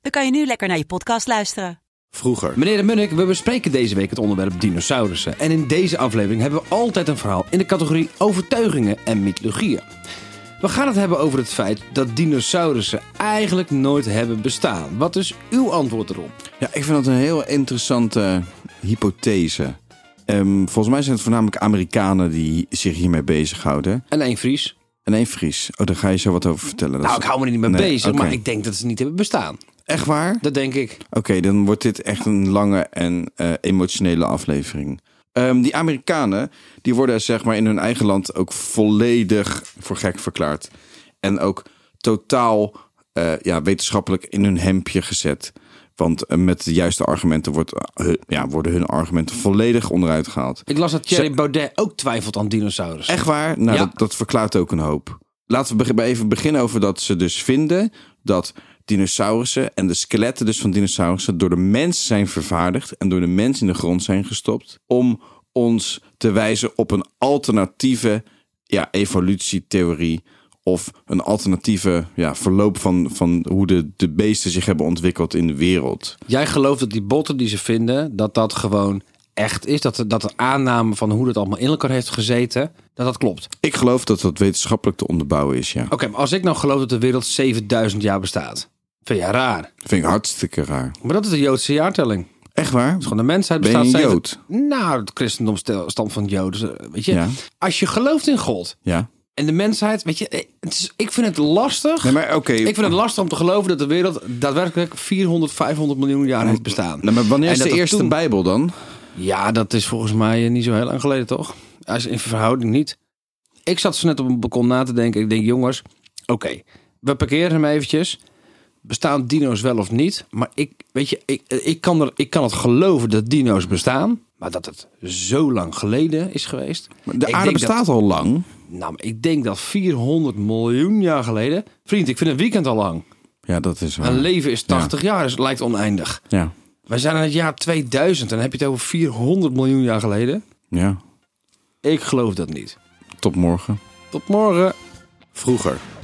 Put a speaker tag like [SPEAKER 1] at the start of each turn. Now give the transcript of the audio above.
[SPEAKER 1] dan kan je nu lekker naar je podcast luisteren.
[SPEAKER 2] Vroeger.
[SPEAKER 3] Meneer de Munnik, we bespreken deze week het onderwerp dinosaurussen. En in deze aflevering hebben we altijd een verhaal in de categorie overtuigingen en mythologieën. We gaan het hebben over het feit dat dinosaurussen eigenlijk nooit hebben bestaan. Wat is uw antwoord erop?
[SPEAKER 4] Ja, ik vind dat een heel interessante hypothese. Ehm, volgens mij zijn het voornamelijk Amerikanen die zich hiermee bezighouden.
[SPEAKER 3] En één Fries.
[SPEAKER 4] En één Fries. Oh, daar ga je zo wat over vertellen. Dat
[SPEAKER 3] Nou,
[SPEAKER 4] is-
[SPEAKER 3] ik hou me er niet mee
[SPEAKER 4] Nee,
[SPEAKER 3] bezig,
[SPEAKER 4] oké.
[SPEAKER 3] maar ik denk dat ze niet hebben bestaan.
[SPEAKER 4] Echt waar?
[SPEAKER 3] Dat denk ik.
[SPEAKER 4] Oké, dan wordt dit echt een lange en eh, emotionele aflevering. Ehm, die Amerikanen, die worden zeg maar in hun eigen land ook volledig voor gek verklaard. En ook totaal eh, ja, wetenschappelijk in hun hemdje gezet. Want eh, met de juiste argumenten wordt, eh, hun- ja, worden hun argumenten volledig onderuit gehaald.
[SPEAKER 3] Ik las dat Thierry
[SPEAKER 4] Ze-
[SPEAKER 3] Baudet ook twijfelt aan dinosaurussen.
[SPEAKER 4] Echt waar? Nou,
[SPEAKER 3] Ja.
[SPEAKER 4] dat, dat verklaart ook een hoop. Laten we be- even beginnen over dat ze dus vinden dat dinosaurussen en de skeletten dus van dinosaurussen door de mens zijn vervaardigd en door de mens in de grond zijn gestopt om ons te wijzen op een alternatieve ja, evolutietheorie of een alternatieve ja, verloop van, van hoe de, de beesten zich hebben ontwikkeld in de wereld.
[SPEAKER 3] Jij gelooft dat die botten die ze vinden, dat dat gewoon echt is. Dat de, dat de aanname van hoe dat allemaal in elkaar heeft gezeten, dat dat klopt.
[SPEAKER 4] Ik geloof dat dat wetenschappelijk te onderbouwen is, ja.
[SPEAKER 3] Oké, maar als ik nou geloof dat de wereld 7000 jaar bestaat, vind jij raar.
[SPEAKER 4] Vind ik hartstikke raar.
[SPEAKER 3] Maar dat is de Joodse jaartelling.
[SPEAKER 4] Echt waar?
[SPEAKER 3] Gewoon de mensheid
[SPEAKER 4] Ben je
[SPEAKER 3] bestaat
[SPEAKER 4] een
[SPEAKER 3] 70 Nou, het christendom stel- stamt van Joden. dus, eh, Weet je,
[SPEAKER 4] Ja.
[SPEAKER 3] als je gelooft in God
[SPEAKER 4] Ja.
[SPEAKER 3] en de mensheid, weet je, eh, het is, ik vind het lastig.
[SPEAKER 4] Nee, maar oké.
[SPEAKER 3] Ik vind het lastig om te geloven dat de wereld daadwerkelijk 400, 500 miljoen jaar heeft bestaan.
[SPEAKER 4] Nou, maar wanneer
[SPEAKER 3] En
[SPEAKER 4] is
[SPEAKER 3] dat
[SPEAKER 4] de
[SPEAKER 3] dat
[SPEAKER 4] eerste
[SPEAKER 3] toen-
[SPEAKER 4] Bijbel dan?
[SPEAKER 3] Ja, dat is volgens mij eh, niet zo heel lang geleden, toch? Als in verhouding niet. Ik zat zo net op een balkon na te denken. Ik denk, jongens, oké, we parkeren hem eventjes. Bestaan dino's wel of niet? Maar ik, weet je, ik, eh, ik, kan er, ik kan het geloven dat dino's bestaan. Maar dat het zo lang geleden is geweest.
[SPEAKER 4] De
[SPEAKER 3] Ik
[SPEAKER 4] aarde
[SPEAKER 3] denk
[SPEAKER 4] bestaat al lang.
[SPEAKER 3] Dat, nou, maar ik denk dat 400 miljoen jaar geleden... Vriend, ik vind een weekend al lang.
[SPEAKER 4] Ja, dat is waar.
[SPEAKER 3] Een leven is 80 jaar, dus het lijkt oneindig.
[SPEAKER 4] Ja,
[SPEAKER 3] We zijn in het jaar 2000 en dan heb je het over 400 miljoen jaar geleden.
[SPEAKER 4] ja.
[SPEAKER 3] Ik geloof dat niet.
[SPEAKER 4] Tot morgen.
[SPEAKER 3] Tot morgen.
[SPEAKER 4] Vroeger.